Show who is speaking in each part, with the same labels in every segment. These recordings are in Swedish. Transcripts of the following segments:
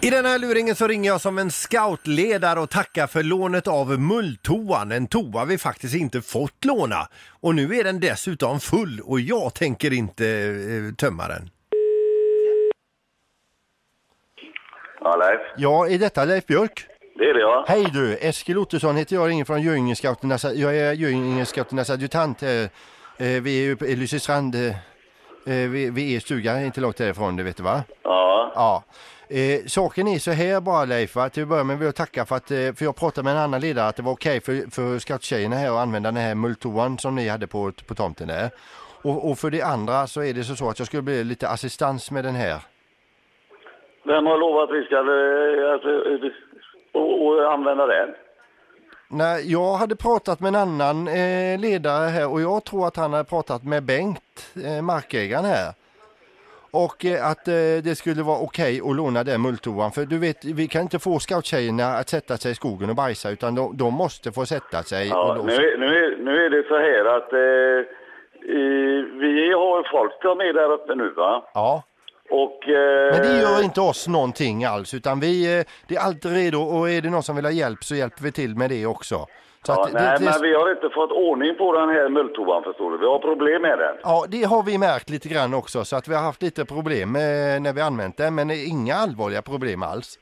Speaker 1: I den här luringen så ringer jag som en scoutledare och tackar för lånet av mulltoan, en toa vi faktiskt inte fått låna. Och nu är den dessutom full och jag tänker inte eh, tömma den.
Speaker 2: Ja, Leif.
Speaker 3: Ja, är detta Leif Björk?
Speaker 2: Det är det, ja.
Speaker 3: Hej du, Eskil Ottosson heter jag, ringer från Göingescouternas, jag är Göingescouternas adjutant. eh, eh, Vi är ju på- i Lysestrand, eh, eh, vi, vi är i stugan inte långt därifrån, det vet du va?
Speaker 2: Ja.
Speaker 3: Ja. Eh, saken är så här bara Leif, va? till att börja med vill jag tacka för att, eh, för jag pratade med en annan ledare att det var okej för, för scouttjejerna här att använda den här multoan som ni hade på, på tomten där. Och, och för det andra så är det så, så att jag skulle bli lite assistans med den här.
Speaker 2: Vem har lovat att vi ska eh, att, eh, och, och använda den?
Speaker 3: Nej, jag hade pratat med en annan eh, ledare här och jag tror att han hade pratat med Bengt, eh, markägaren här. Och eh, att eh, det skulle vara okej att låna den mulltoan. För du vet, vi kan inte få scouttjejerna att sätta sig i skogen och bajsa utan de, de måste få sätta sig. och
Speaker 2: Ja,
Speaker 3: då-
Speaker 2: nu, är- nu, är, nu är det så här att eh, eh, vi har folk som är där uppe nu, va?
Speaker 3: ja.
Speaker 2: Och... Eh,
Speaker 3: Men det gör inte oss någonting alls utan vi eh, det är alltid redo och är det någon som vill ha hjälp så hjälper vi till med det också. Så
Speaker 2: Ja,
Speaker 3: att det,
Speaker 2: nej,
Speaker 3: det,
Speaker 2: men vi har inte fått ordning på den här mulltoan, förstår du. Vi har problem med den.
Speaker 3: Ja, det har vi märkt lite grann också så att vi har haft lite problem eh, när vi använt den men inga allvarliga problem alls.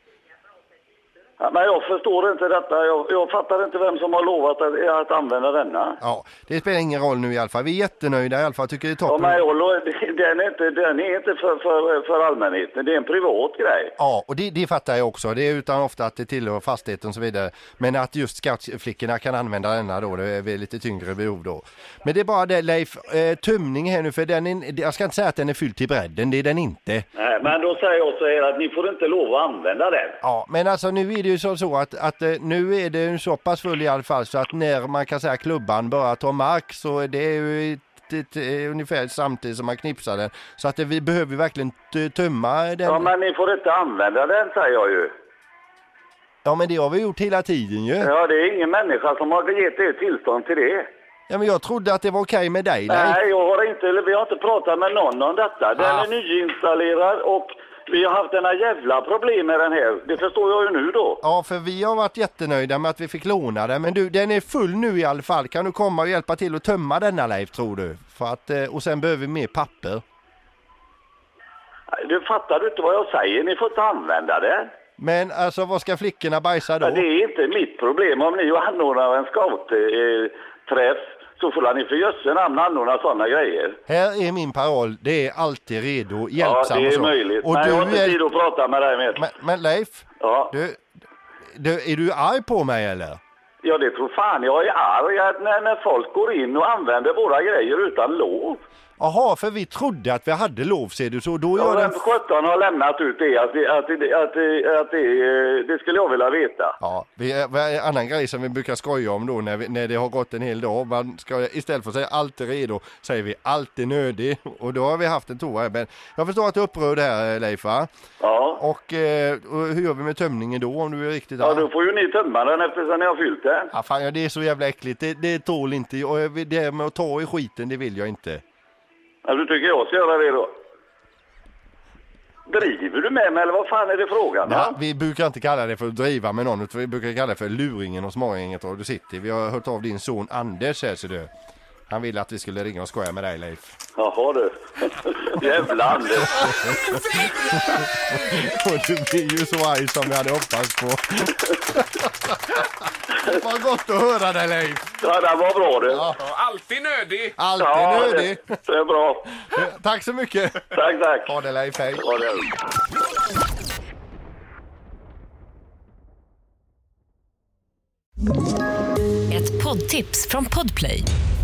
Speaker 2: Ja, men jag förstår inte detta. Jag, jag fattar inte vem som har lovat att, att använda denna.
Speaker 3: Ja, det spelar ingen roll nu i alla fall. Vi är jättenöjda i alla fall, tycker det är
Speaker 2: Ja,
Speaker 3: toppen.
Speaker 2: men jag, lo- den är inte, den är inte för, för, för allmänheten. Det är en privat grej.
Speaker 3: Ja, och det, det fattar jag också. Det är utan ofta att det tillhör fastigheten och så vidare. Men att just scoutflickorna kan använda denna då, det är väl lite tyngre behov då. Men det är bara det Leif, eh, tömning här nu för den är, jag ska inte säga att den är fylld till bredden, det är den inte.
Speaker 2: Nej, men då säger jag så här att ni får inte lov att använda den.
Speaker 3: Ja, men alltså nu är det ju så, så att, att eh, nu är det ju så pass full i alla fall så att när man kan säga klubban börjar ta mark så är det ju ett, ett, eh, ungefär samtidigt som man knipsar den. Så att eh, vi behöver ju verkligen t- tömma den.
Speaker 2: Ja, men ni får inte använda den, säger jag ju.
Speaker 3: det har vi gjort hela tiden ju. Ja.
Speaker 2: Ja, det är ingen människa som har gett er tillstånd till det.
Speaker 3: men jag trodde att det var okej med dig.
Speaker 2: Nej,
Speaker 3: Nej.
Speaker 2: jag har inte, eller vi har inte pratat med någon om detta. Den
Speaker 3: Ah.
Speaker 2: är nyinstallerad och vi har haft denna jävla problem med den här. Det förstår jag ju nu då.
Speaker 3: Ja, för vi har varit jättenöjda med att vi fick låna den. Men du, den är full nu i alla fall. Kan du komma och hjälpa till att tömma denna Leif, tror du? För att, eh, och sen behöver vi mer papper.
Speaker 2: Du fattar du inte vad jag säger? Ni får inte använda den.
Speaker 3: Men alltså, vad ska flickorna bajsa då?
Speaker 2: Ja, Det är inte mitt problem. Om ni anordnar en scoutträff så får ni för jösse namn anordna sådana grejer.
Speaker 3: Här är min paroll, det är alltid redo,
Speaker 2: Ja,
Speaker 3: hjälpsam
Speaker 2: det
Speaker 3: och
Speaker 2: är
Speaker 3: så.
Speaker 2: möjligt.
Speaker 3: Och
Speaker 2: Men jag har
Speaker 3: du
Speaker 2: inte tid
Speaker 3: är...
Speaker 2: att prata med dig mer.
Speaker 3: men, men Leif,
Speaker 2: Ja.
Speaker 3: du, du, är du arg på mig eller?
Speaker 2: Ja, det tror fan jag är arg att när, när folk går in och använder våra grejer utan lov.
Speaker 3: Jaha, för vi trodde att vi hade lov ser du, så då
Speaker 2: Ja,
Speaker 3: gör
Speaker 2: vem
Speaker 3: den...
Speaker 2: 17 har lämnat ut det? Att, det- att, det- att, det- att det, eh, det skulle jag vilja veta.
Speaker 3: Ja, vi, en annan grej som vi brukar skoja om då när, vi, när det har gått en hel dag. Man ska, istället för att säga alltid redo säger vi alltid nödig. Och då har vi haft en toa här. Men jag förstår att du är upprörd här eh, Leif va?
Speaker 2: Ja.
Speaker 3: Och, eh, och hur gör vi med tömningen då om du är riktigt
Speaker 2: ja,
Speaker 3: arg?
Speaker 2: då får ju ni tömma den eftersom ni har fyllt den.
Speaker 3: Ja, fan, ja, det är så jävla äckligt. Det, det tål inte jag. Och jag vill- Det här med att ta i skiten, det vill jag inte.
Speaker 2: Ja, du tycker jag ska göra det då? Driver du med mig eller vad fan är det frågan
Speaker 3: Nej,
Speaker 2: om?
Speaker 3: vi brukar inte kalla det för att driva med någon, utan vi brukar kalla det för luringen och smarringen och du sitter. Vi har hört av din son Anders här, ser du. Han ville att vi skulle ringa och skoja med dig, Leif.
Speaker 2: Jaha du. Jävla Anders.
Speaker 3: Och du blir ju så arg som vi hade hoppats på. Vad gott att höra dig, Leif.
Speaker 2: Ja, den var bra du. Ja,
Speaker 4: Alltid nödig!
Speaker 3: Alltid nödig.
Speaker 2: det, det är bra.
Speaker 3: Tack så mycket.
Speaker 2: Tack, tack.
Speaker 3: Ha det, Leif. Hej.
Speaker 2: Ja, det är det.
Speaker 5: Ett poddtips från Podplay.